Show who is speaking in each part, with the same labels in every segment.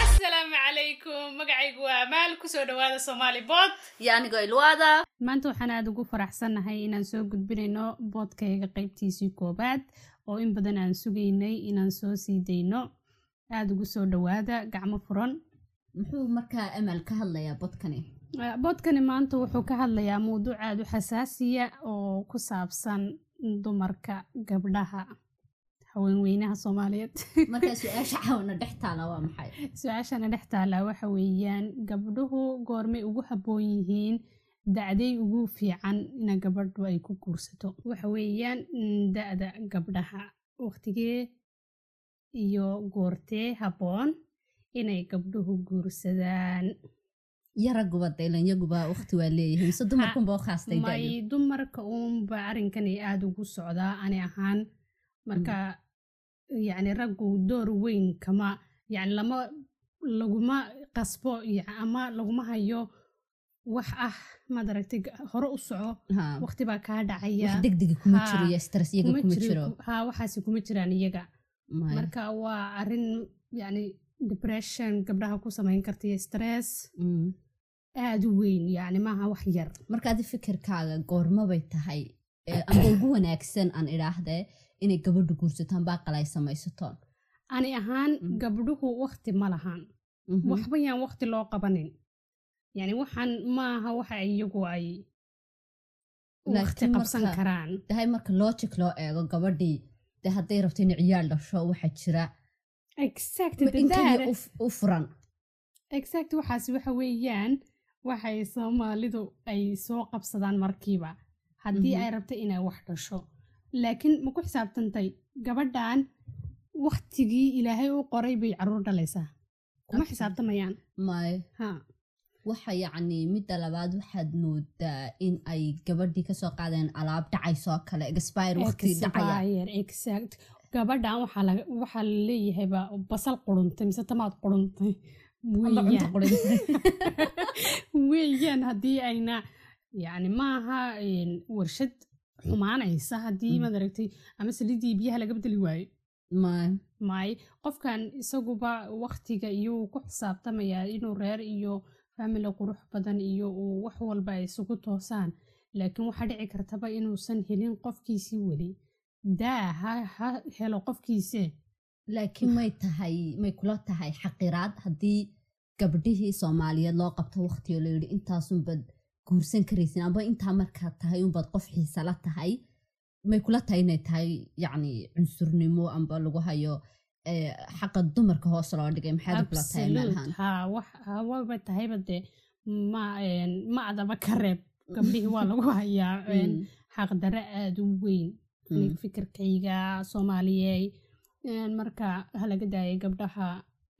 Speaker 1: asalaamu calaykum magacaygu waa maal kusoo dhawaada somaali bod
Speaker 2: iyo anigoo ilwaada
Speaker 3: maanta waxaan aada ugu faraxsannahay inaan soo gudbinayno boodkayga qaybtiisii koowaad oo in badan aan sugaynay inaan soo sii dayno aada ugu soo dhawaada gacmo furan
Speaker 2: muxuu markaa amal ka hadlayaa bodkani
Speaker 3: boodkani maanta wuxuu ka hadlayaa mawduuc aada u xasaasiya oo ku saabsan dumarka gabdhaha haweenweynaha soomaaliyeed
Speaker 2: markaa su-aasha caawna dhex taala waa maxay
Speaker 3: su-aashana dhex taallaa waxa weeyaan gabdhuhu goormay ugu habboon yihiin da'day ugu fiican ina gabadhu ay ku guursato waxa weeyaan mm, da'da gabdhaha waqtigee iyo goortee habboon inay gabdhuhu guursadaan
Speaker 2: iyo ragguba daylan yaguba waqti waa leeyihiin se dumarkunba ukhaastay dayo
Speaker 3: may dumarka uunba arrinkan ay aada ugu socdaa ani ahaan marka
Speaker 2: Mm.
Speaker 3: yacni raggu door weyn kama yani lama laguma qasbo ya- ama laguma hayo wax ah madaragtay ga- hore u soco
Speaker 2: Ha,
Speaker 3: waqti baa kaa
Speaker 2: wax
Speaker 3: dhacaya
Speaker 2: degdega kuma
Speaker 3: Ha,
Speaker 2: jiro iyo stress iyaga kuma jiro
Speaker 3: ha waxaasi kuma jiraan iyaga
Speaker 2: Maya.
Speaker 3: marka waa arrin yacni depression gabdhaha ku samayn karta iyo stress
Speaker 2: Mm.
Speaker 3: aada u weyn yacni maaha wax yar
Speaker 2: marka adi fikirkaaga goormabay tahay ee amba ugu wanaagsan aan idhaahdee inay gabadhu guursataan baaqal ay samaysataan
Speaker 3: ani ahaan
Speaker 2: Mm.
Speaker 3: gabdhuhu waqti ma lahan
Speaker 2: Mhm.
Speaker 3: waxba yaan waqti loo qabanin yani waxaan maaha waxa iyagu ay waqti
Speaker 2: Laakiin
Speaker 3: qabsan
Speaker 2: marka-
Speaker 3: karaan
Speaker 2: dahay marka logic loo eego gabadhii dee hadday rabto inay ciyaal dhasho waxaa jira
Speaker 3: exact
Speaker 2: ma inkeliya u f- u furan
Speaker 3: exact waxaas waxa weeyaan waxay soomaalidu ay soo qabsadaan markiiba haddii
Speaker 2: Mhm.
Speaker 3: ay rabto inay wax dhasho laakiin ma ku xisaabtantay gabadhan waqtigii ilaahay u qoray bay caruur dhalaysaa kuma
Speaker 2: Absolutely.
Speaker 3: xisaabtamayaan
Speaker 2: may
Speaker 3: ha
Speaker 2: waxa yacni midda labaad waxaad moodaa in ay gabadhii kasoo qaadeen alaab dhacaysoo kale expire waqti dhacaya
Speaker 3: Expire, exact gabadhan waxaa laga- waxaa la leeyahayba basal quruntay mise tamaad quruntay
Speaker 2: Amba cunto
Speaker 3: weeyaan
Speaker 2: qudhintay.
Speaker 3: weeyaan haddii ayna yani maaha een, warshad
Speaker 2: Hmm.
Speaker 3: xumaanaysa haddii
Speaker 2: Mm.
Speaker 3: madaragtay ama salidii biyaha laga bedeli waayo
Speaker 2: may
Speaker 3: maaye qofkan isaguba waktiga iyuu ku xisaabtamayaa inuu reer iyo family qurux badan iyo uu wax walba ay isugu toosaan laakiin waxaa dhici kartaba inuusan helin qofkiisii weli daa ha, ha helo qofkiise
Speaker 2: laakiin may tahay may kula tahay xaqiraad haddii gabdhihii soomaaliyeed loo qabto waqtiga loo yidhi intaasunbaad guursan karaysin amba intaa markaad tahay unbaad qof xiisa la tahay may kula tahay inay tahay yacni cunsurnimo amba lagu hayo eh, xaqa dumarka hoos loo dhigay maxaad kula tahay malahan
Speaker 3: Absolute. haa wax haa, waaba tahayba dee ma een, ma adaba ka reeb gabdhihii waa lagu hayaa een,
Speaker 2: Mm,
Speaker 3: xaqdaro aada u weyn
Speaker 2: mm.
Speaker 3: Aniga fikirkayga soomaaliyey een, marka halaga daayay gabdhaha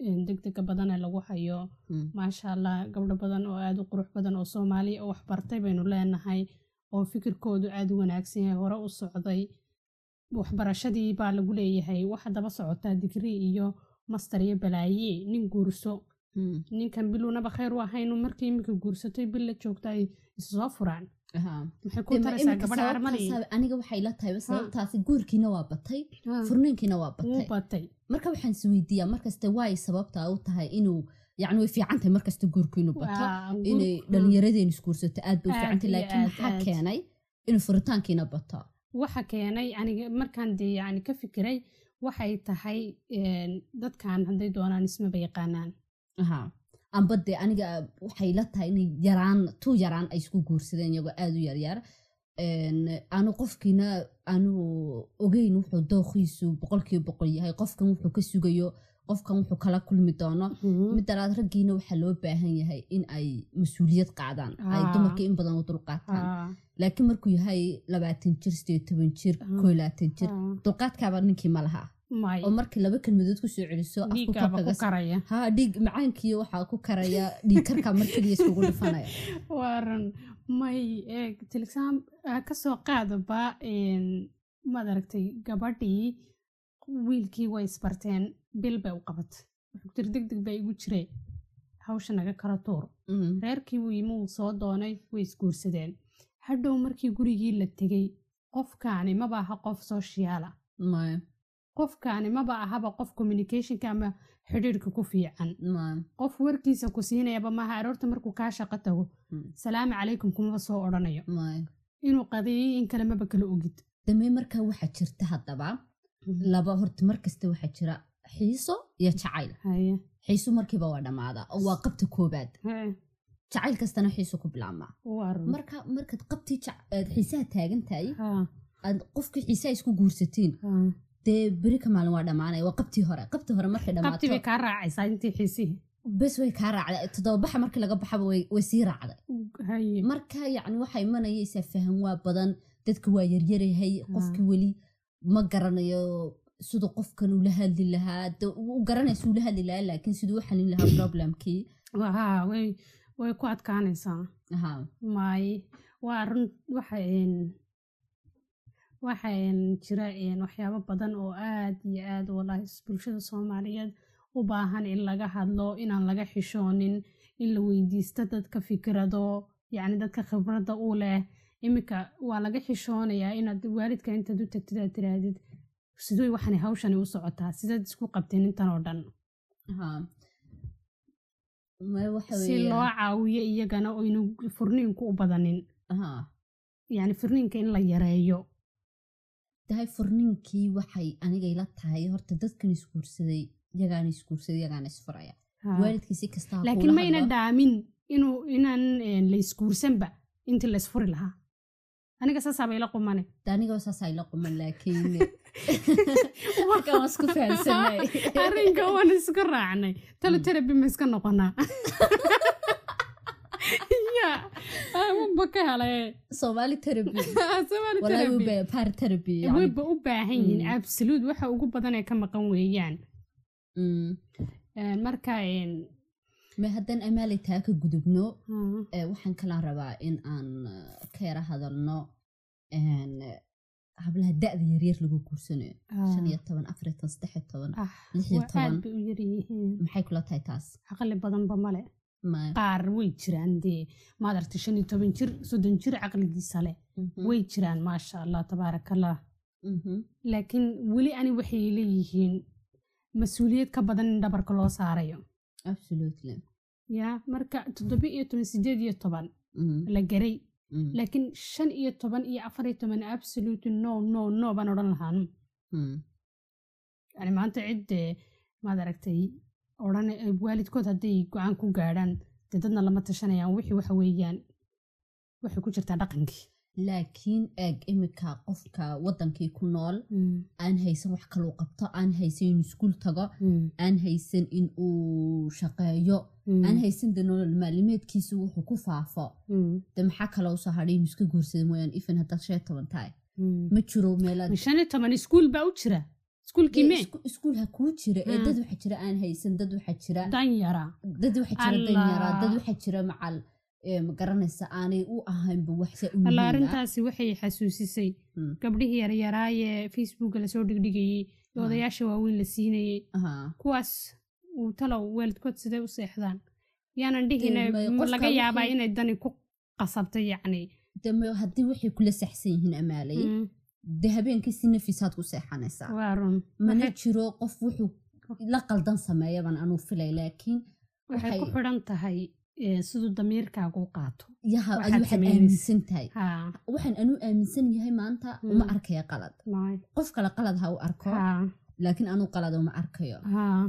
Speaker 3: een, degdega badana lagu hayo
Speaker 2: Mm.
Speaker 3: maasha allah gabdho badan oo aada u qurux badan oo soomaaliya oo waxbartay baynu leenahay oo fikirkoodu aada u wanaagsan yahay hore u socday waxbarashadii baa lagu leeyahay waxa daba socotaa digrii iyo master iyo balaaye nin guurso
Speaker 2: Mm,
Speaker 3: ninkan bilownaba khayr u ahaynu markii iminka guursatay bil la joogta ay is soo furaan
Speaker 2: ahaa.
Speaker 3: maxay ku
Speaker 2: Dee ma
Speaker 3: taraysaa
Speaker 2: iminka
Speaker 3: gabadha armali
Speaker 2: sababtaas aniga waxay la tahay sababtaasi guurkiina waa batay
Speaker 3: Ah.
Speaker 2: furniinkiina waa
Speaker 3: wuu
Speaker 2: batay
Speaker 3: batay
Speaker 2: marka waxaan isweydiiyaa markaste waay sababta u tahay inuu yacni way fiican tahay markasta guurku inuu bato
Speaker 3: Waa guur-
Speaker 2: inay dhalinyaradeen isguursato aad bay u
Speaker 3: Aad
Speaker 2: fiican tahay
Speaker 3: iyo
Speaker 2: laakiin
Speaker 3: aad,
Speaker 2: maxaa
Speaker 3: aad.
Speaker 2: keenay inuu furitaankiina bato
Speaker 3: waxa keenay aniga markaan dee yani ka fikiray waxay tahay een, dadkan hadday doonaan ismaba yaqaanaan
Speaker 2: ahaa amba dee aniga waxay la tahay inay yaraan tuu yaraan ay isku guursadeen iyagoo aad u yaryar Een, anu qofkiina anu ogeyn wuxuu dooqiisu boqolkiiba boqol yahay qofkan wuxuu ka sugayo qofkan wuxuu kala kulmi doono midda labaad raggiina waxaa loo baahan yahay in ay mas-uuliyad qaadaan ay
Speaker 3: Ah.
Speaker 2: dumarka in badan u dulqaataan
Speaker 3: Ah,
Speaker 2: laakiin markuu yahay labaatan jir sideed toban jir
Speaker 3: Ah.
Speaker 2: koo laatan jir
Speaker 3: ah,
Speaker 2: dulqaadkaaba ninkii ma laha
Speaker 3: may
Speaker 2: oo markii laba kelmadood kusoo celiso afku
Speaker 3: dhiiggaaba ku
Speaker 2: kaga
Speaker 3: karaya
Speaker 2: ha dhiig macaankiiyo waxaa ku karaya dhiig karka mar keliya iskugu dhufanaya
Speaker 3: waaran may eeg ah, tilexam kasoo qaadaba een, maad aragtay gabadhii wiilkii way isbarteen bil bay u qabatay wuxuu tiri deg deg baa igu jiree hawsha naga kala tuur
Speaker 2: Mm.
Speaker 3: reerkii wuu yimi wuu soo doonay way isguursadeen hadhow markii gurigii la tegey qofkaani mabaaha qof soo shiyaala
Speaker 2: Maya.
Speaker 3: qofkaani maba ahaba qof communicationka ama xidhiirka ku fiican qof warkiisa ku siinayaba maaha aroorta markuu kaa shaqo tago
Speaker 2: Mm.
Speaker 3: salaamu calaykum kumaba soo odhanayo inuu qadiyooyin kale maba kala ogid
Speaker 2: damee markaa waxaa jirta haddaba laba horta mar kasta waxaa jira xiiso iyo jacayl
Speaker 3: Haye.
Speaker 2: xiiso markiiba waa dhammaadaa oo waa qabta koobaad
Speaker 3: Hee,
Speaker 2: jacayl kastana xiiso ku bilaabmaa
Speaker 3: waa run.
Speaker 2: marka markaad qabtii jac- aad xiisaha taagan tahay
Speaker 3: Haa,
Speaker 2: aad qofkii xiisaha isku guursatiin
Speaker 3: haa.
Speaker 2: dee beri ka maalin waa dhammaanaya waa qabtii hore qabtii hore markay
Speaker 3: qabti bay
Speaker 2: dhammaato
Speaker 3: kaa raacaysaa intii xiisihii
Speaker 2: bes way kaa raacday toddobabaxa markii laga baxaba way way sii raacday
Speaker 3: Haye.
Speaker 2: marka yacni waxaa imanayaysaa faham waa badan dadka waa yaryarahay qofkii weli ma garanayo siduu qofkan ula hadli lahaa de u u garanaysa ula hadli lahaa laakiin siduu u xalin lahaa problemkii
Speaker 3: Waa- way way ku adkaanaysaa
Speaker 2: Aha,
Speaker 3: maaye waa run waxa een- waxa een jira een waxyaabo badan oo aad iyo aad walaahi bulshada soomaaliyeed u baahan in laga hadlo inaan laga xishoonin in la weydiisto dadka fikrado yacni dadka khibradda u leh iminka waa laga xishoonayaa inaad waalidka intaad u tagtid aad tirahdid siduu waxani hawshani u socotaa sidaad isku qabteen intan oo dhan
Speaker 2: aha. Ma waxa
Speaker 3: si loo
Speaker 2: weeyaan,
Speaker 3: caawiyo iyagana oo inu furniinku u badanin
Speaker 2: aha.
Speaker 3: yacni furniinka in la yareeyo
Speaker 2: tahay furniinkii waxay anigay la tahay horta dadkan isguursaday yagaana isguursaday yagaana isfuraya
Speaker 3: Haa.
Speaker 2: waalidkii si kastaa ha
Speaker 3: laakiin
Speaker 2: kuula
Speaker 3: ma yna
Speaker 2: hadlo.
Speaker 3: dhaamin inuu inaan een, la isguursanba intii la isfuri lahaa aniga saasaaba ila qumane
Speaker 2: Dee anigoo saas ayla quman laakiin halkan waan isku fahamsanahay eh,
Speaker 3: arrinka waan iska raacnay
Speaker 2: Mm.
Speaker 3: taloterapy ma iska noqonaa ya waba ka helay
Speaker 2: soomaali terabi
Speaker 3: Somali
Speaker 2: walaahi
Speaker 3: therapy.
Speaker 2: wayba- par terabi yani.
Speaker 3: wayba u baahan yihiin
Speaker 2: Mm.
Speaker 3: absoluut waxa ugu badan ee ka maqan weeyaan
Speaker 2: Mm.
Speaker 3: Een, marka een,
Speaker 2: ma haddaan amaalay taa ka gudubno
Speaker 3: haa,
Speaker 2: ee, waxaan kalaan rabaa in aan eh, ka yara hadalno een, eh, hablaha da'da yaryar lagu guursanayo
Speaker 3: aa,
Speaker 2: shan iyo toban afar iyo toban saddex iyo toban
Speaker 3: ah,
Speaker 2: lix iyo
Speaker 3: waa aad
Speaker 2: toban
Speaker 3: bay u yaryihiin
Speaker 2: maxay kula tahay taas
Speaker 3: caqli badanba male
Speaker 2: Ma-
Speaker 3: qaar way jiraan dee maad aragtay shan iyo toban jir soddon jir caqligiisa leh
Speaker 2: Mhm.
Speaker 3: way jiraan maasha allah tabaaraka allah
Speaker 2: Mhm.
Speaker 3: laakiin weli ani waxay leeyihiin mas-uuliyad ka badan in dhabarka loo saarayo
Speaker 2: absolutely
Speaker 3: ya marka toddoba iyo toban sideed iyo toban
Speaker 2: Mhm.
Speaker 3: la garay
Speaker 2: Mhm.
Speaker 3: laakiin shan iyo toban iyo afar iyo toban absolute no no no baan odhan lahaan
Speaker 2: Mhm.
Speaker 3: yani maanta cid dee maad aragtay odhan waalidkood hadday go-aan ku gaadhaan dee dadna lama tashanayaan wixii waxa weeyaan waxay ku jirtaa dhaqankii
Speaker 2: laakiin eeg imika qofka wadankii ku nool aan haysan wax kaluu qabto aan haysan inuu iskuul tago
Speaker 3: Hmm,
Speaker 2: aan haysan in uu shaqeeyo aan haysan de nolol maalimeedkiisu wuxuu ku faafo
Speaker 3: hmm,
Speaker 2: de maxaa kaloo soo hadhay inuu iska guursada mooyaan ifin haddaad shee toban tahay
Speaker 3: hmm.
Speaker 2: ma jiro meelaad
Speaker 3: shan iyo toban iskuul baa u jira iskuulkii mee
Speaker 2: iskuulha kuu jira ee
Speaker 3: Hmm.
Speaker 2: dad waxaa jira aan haysan dad waxaa jira
Speaker 3: dan yaraa
Speaker 2: dad waxaa jira danyaraa dad
Speaker 3: Allah.
Speaker 2: waxaa jira macal ee, ma garanaysa aanay u ahaynba waxse u
Speaker 3: alla
Speaker 2: muhiim ah.
Speaker 3: arrintaasi waxay xasuusisay
Speaker 2: Mm.
Speaker 3: gabdhihii yaryaraayee facebooka lasoo dhigdhigayey ee
Speaker 2: Ah.
Speaker 3: odayaasha waaweyn la siinayey
Speaker 2: Aha.
Speaker 3: kuwaas uu talow waalidkood siday u seexdaan yaanan
Speaker 2: Dee, may
Speaker 3: dhihina
Speaker 2: qofka
Speaker 3: laga yaabaa
Speaker 2: wixii-
Speaker 3: inay dani ku qasabtay yacni
Speaker 2: de ma- haddii waxay kula saxsan yihiin amaalay
Speaker 3: Mm,
Speaker 2: de habeenkii si nafiisaad ku seexanaysaa
Speaker 3: waa run
Speaker 2: mana
Speaker 3: Waxay-
Speaker 2: jiro qof wuxuu la qaldan sameeyaban anuu filay laakiin
Speaker 3: waxay ku
Speaker 2: waxay-
Speaker 3: xidhan tahay eh, siduu damiirkaagu u qaato
Speaker 2: yaha adi
Speaker 3: Waxaad
Speaker 2: waxaad
Speaker 3: samaynaysaa.
Speaker 2: aaminsan tahay
Speaker 3: haa
Speaker 2: waxaan anuu aaminsan yahay maanta
Speaker 3: Mm.
Speaker 2: uma arkaya qalad
Speaker 3: maay
Speaker 2: qof kale qalad ha u arko
Speaker 3: haa
Speaker 2: laakiin anuu qalad uma arkayo
Speaker 3: haa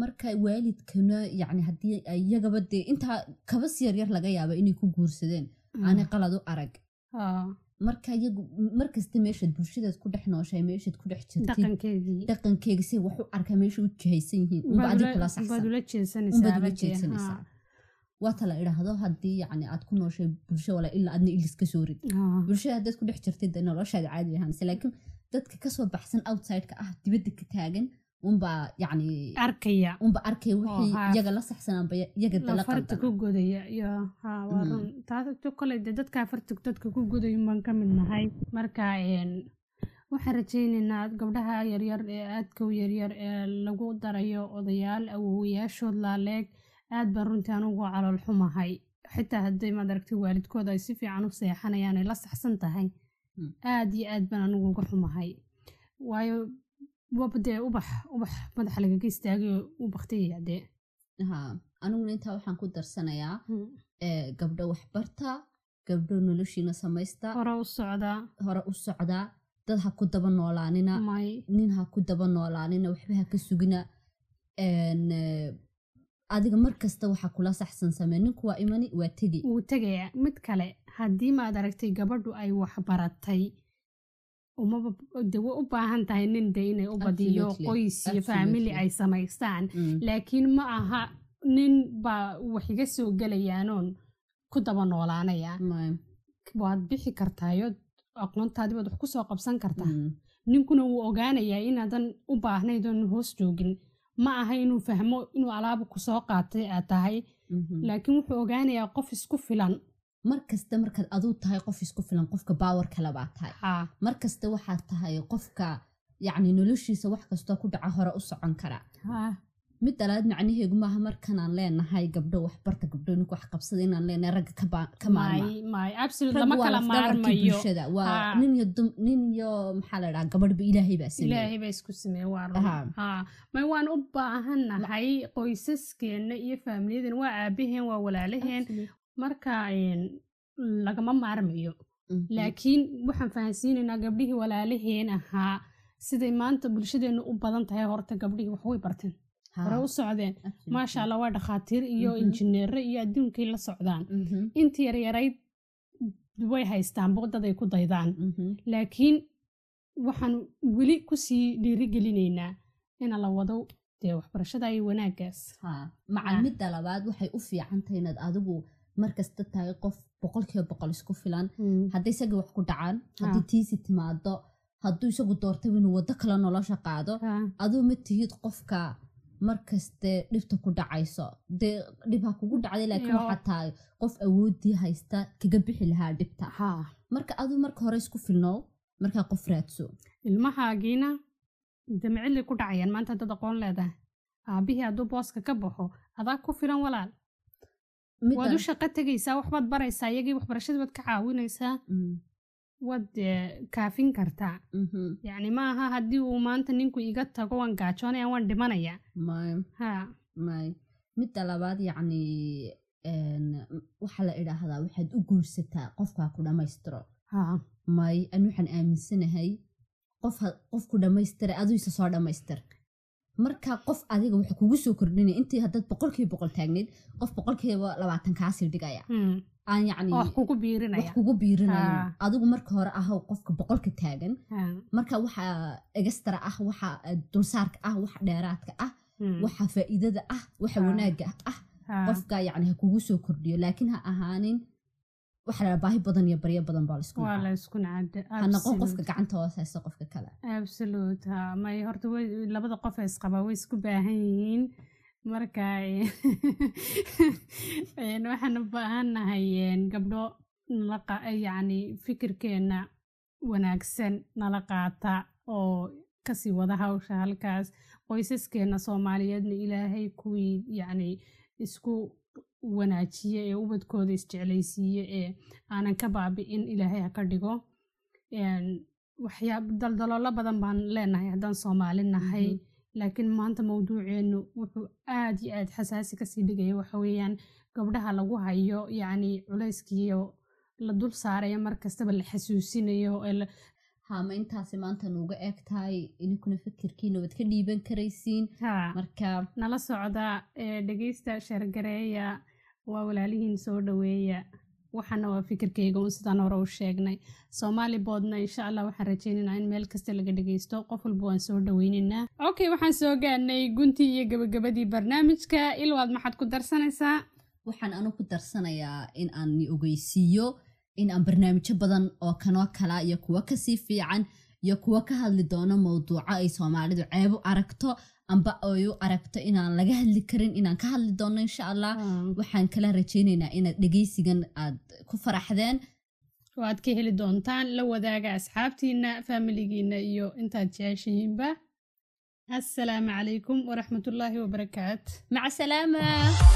Speaker 2: marka waalidkuna yacni haddii ay iyagaba dee intaa kabas yaryar laga yaaba inay ku guursadeen aanay qalad u arag
Speaker 3: haa
Speaker 2: marka iyagu markasta meeshaad bulshadaad ku dhex nooshahay meeshaad ku dhex jirtid
Speaker 3: dhaqankeedii
Speaker 2: dhaqankeega say wax u arka meesha u jihaysan yihiin unba adig kula saxsan
Speaker 3: badula
Speaker 2: unbaad uga
Speaker 3: jeesanaysaa
Speaker 2: jeedsanaysaa waata la idhaahdo haddii yacni aad ku nooshay bulsho wala ilaa adna ilis ka soo rid bulshada haddaad ku dhex jirtid dee noloshaad caadi ahaanse laakiin dadka kasoo baxsan outsideka ah dibadda ka taagan unbaa yacni
Speaker 3: arkaya
Speaker 2: unba arkay wixii
Speaker 3: haa.
Speaker 2: iyaga la saxsanaanba iyaga de la
Speaker 3: farta ku
Speaker 2: qaldan
Speaker 3: godaya iyo haa waa
Speaker 2: Mm.
Speaker 3: run taasoo kale dee dadkaa farta dadka ku godayo baan ka mid nahay marka een, waxaan rajaynaynaa gabdhaha yaryar ee aadka u yaryar ee lagu darayo odayaal awowayaashood laaleeg aad baan runtii anugu calool xumahay xitaa hadday maad aragtay waalidkooda ay si fiican u seexanayaan ay la saxsan tahay
Speaker 2: Mm.
Speaker 3: aad iyo aad baan anugu uga xumahay waayo waaba dee ubax ubax madaxa lagaga istaagayo ubaktaya dee
Speaker 2: haa aniguna intaa waxaan ku darsanayaa ee, gabdho waxbarta gabdho noloshiina samaysta
Speaker 3: hore u socdaa
Speaker 2: hore u socdaa dad ha ku daba noolaanina
Speaker 3: may
Speaker 2: nin ha ku daba noolaanina waxba ha ka sugina een, eh, adiga mar kasta waxaa kula saxsan samee ninku waa imani waa tegi
Speaker 3: wuu tegaya mid kale haddii maad aragtay gabadhu ay waxbaratay umaba de way u baahan tahay nin de inay u badiyo
Speaker 2: Absolutely.
Speaker 3: qoys iyo faamili
Speaker 2: Absolutely.
Speaker 3: ay samaystaan
Speaker 2: Mm.
Speaker 3: laakiin ma aha nin baa wax iga soo gelayaanoon ku daba noolaanaya
Speaker 2: Maya.
Speaker 3: waad bixi kartaayood aqoontaadii baad wax ku soo qabsan kartaa
Speaker 2: Mm.
Speaker 3: ninkuna wuu ogaanayaa inaadan u baahnayd oon hoos joogin ma aha inuu fahmo inuu alaaba kusoo qaatay aad tahay
Speaker 2: Mhm.
Speaker 3: laakiin wuxuu ogaanayaa qof isku filan
Speaker 2: mar kasta markaad aduu tahay qof isku filan qofka baawar kale baa tahay
Speaker 3: haa
Speaker 2: mar kasta waxaad tahay qofka yacni noloshiisa wax kastoo ku dhaca hore u socon kara
Speaker 3: haa
Speaker 2: mid dalaad macnaheegu maaha markanaan leenahay gabdho waxbarta gabdho ninku wax qabsada inaan leenahay ragga ka baa- ka maarma
Speaker 3: may may absolute
Speaker 2: Raggu
Speaker 3: lama
Speaker 2: waa
Speaker 3: kala
Speaker 2: lafdhabarkii
Speaker 3: maarmayo
Speaker 2: bulshada waa
Speaker 3: Haa.
Speaker 2: nin iyo dum- nin iyo maxaa la dhahaa gabadhba ilaahay baa sameeyey
Speaker 3: ilaahay baa isku sameeye waa
Speaker 2: Haa.
Speaker 3: run haa may waan u baahannahay qoysaskeena iyo faamilyadan waa aabaheen waa walaalaheen marka een, lagama maarmayo
Speaker 2: Mhm.
Speaker 3: laakiin waxaan fahansiinaynaa gabdhihii walaalaheen ahaa siday maanta bulshadeenu u badan tahay horta gabdhihii wax way barteen
Speaker 2: Haa.
Speaker 3: hore u socdeen
Speaker 2: Absolutely.
Speaker 3: maasha allah waa dhakhaatiir iyo
Speaker 2: Mhm.
Speaker 3: injineero iyo adduunkay la socdaan
Speaker 2: Mhm.
Speaker 3: inta yaryarayd way haystaan boqdad ay ku daydaan
Speaker 2: Mhm.
Speaker 3: laakiin waxaan weli kusii dhiirigelinaynaa ina la wado dee waxbarashada iyo wanaaggaas
Speaker 2: Haa.
Speaker 3: Haa.
Speaker 2: macal midda labaad waxay u fiican tahay inaad adigu mar kasta tahay qof boqolkiiba boqol isku filan hadday isagii wax ku dhacaan haddii
Speaker 3: Haa.
Speaker 2: tiisi timaado hadduu isagu doortaba inuu waddo kale nolosha qaado
Speaker 3: Haa.
Speaker 2: aduu ma tihid qofka markaste dhibta ku dhacayso dee dhib ha kugu dhacday laakiin
Speaker 3: Yo.
Speaker 2: waxaad tahay qof awoodii haysta kaga bixi lahaa dhibta
Speaker 3: haa
Speaker 2: marka aduu marka hore isku filnow markaa qof raadso
Speaker 3: ilmahaagiina damcilay ku dhacayaan maanta dad aqoon leedahay aabihii hadduu booska ka baxo adaa ku filan walaal waad u
Speaker 2: Midaan-
Speaker 3: shaqo tegaysaa waxbaad baraysaa iyagii waxbarashadii baad ka caawinaysaa
Speaker 2: Mm,
Speaker 3: waad eh, kaafin kartaa
Speaker 2: mhm,
Speaker 3: yacni ma aha haddii uu maanta ninku iga tago waan gaajoonaya waan dhimanayaa
Speaker 2: may-
Speaker 3: haa
Speaker 2: may midda labaad yacni een, waxaa la idhaahdaa waxaad u guursataa qofkaa ku dhammaystiro
Speaker 3: haa
Speaker 2: may ani waxaan aaminsanahay qof ha- qof ku dhammaystira aduu isa soo dhammaystir marka qof adiga waxa kugu soo kordhinaya intii haddaad boqolkiiba boqol taagneyd qof boqolkiiba labaatan kaasii dhigaya
Speaker 3: Hmm.
Speaker 2: aan yacni
Speaker 3: oo wax kugu
Speaker 2: wax
Speaker 3: biirinaya
Speaker 2: kugu biirinayo
Speaker 3: Haa.
Speaker 2: adigu marka hore ahaw qofka boqolka taagan
Speaker 3: Haa.
Speaker 2: marka waxa egastara ah waxa eh, dulsaarka ah waxa dheeraadka ah
Speaker 3: Hmm.
Speaker 2: waxa faa'iidada ah waxa
Speaker 3: Haa.
Speaker 2: wanaagga ah
Speaker 3: Haa.
Speaker 2: qofka yacni ha kugu soo kordhiyo laakiin ha ahaanin waxa la dhaha baahi badan iyo baryo badan baa laisku
Speaker 3: waa
Speaker 2: nacaa.
Speaker 3: la isku nacada
Speaker 2: ha noqon qofka gacanta hoos haysta qofka kale
Speaker 3: absolute haa may horta way- labada qof ee isqabaa way isku baahan yihiin marka een, waxaan u baahannahay een, gabdho nala qa- yacni fikirkeena wanaagsan nala qaata oo kasii wada hawsha halkaas qoysaskeena soomaaliyeedna ilaahay kuwii yacni isku wanaajiye ee ubadkooda isjeclaysiiye ee aanan ka baabi'in ilaahay ha ka dhigo Een, waxyaab daldaloolo badan baan leenahay haddaan soomaali nahay laakiin maanta mawduuceennu wuxuu aad iyo aad xasaasi kasii dhigaya waxa weeyaan gabdhaha lagu hayo yacni culayskiyo la dul saaraya mar kastaba la xasuusinayo ee la-
Speaker 2: haama intaasi maanta nuuga eg tahay ininkuna fikirkiina waad ka dhiiban karaysiin
Speaker 3: haa
Speaker 2: marka
Speaker 3: nala socda ee dhegeysta sheergareeya waa walaalihiin soo dhoweeya waxaana waa fikirkayga uun sidaan hore u sheegnay soomaali boodna insha allah waxaan rajaynaynaa in meel kasta laga dhegeysto qof walba waan soo dhoweynaynaa okay waxaan soo gaadnay guntii iyo gabagabadii barnaamijka ilwaad maxaad ku darsanaysaa
Speaker 2: waxaan anigu ku darsanayaa in aan ni ogeysiiyo in aan barnaamijyo badan oo kanoo kala iyo kuwo kasii fiican iyo kuwo ka hadli doono mawduuco ay soomaalidu ceebu aragto amba ay u aragto inaan laga hadli karin inaan ka hadli doono insha allah waxaan kala rajaynaynaa inaad dhegeysigan aad ku faraxdeen
Speaker 3: oo aad ka heli doontaan la wadaaga asxaabtiina faamiligiina iyo intaad jeceshihiinba asalaamu calaykum waraxmatullaahi wabarakaat
Speaker 2: maca salaama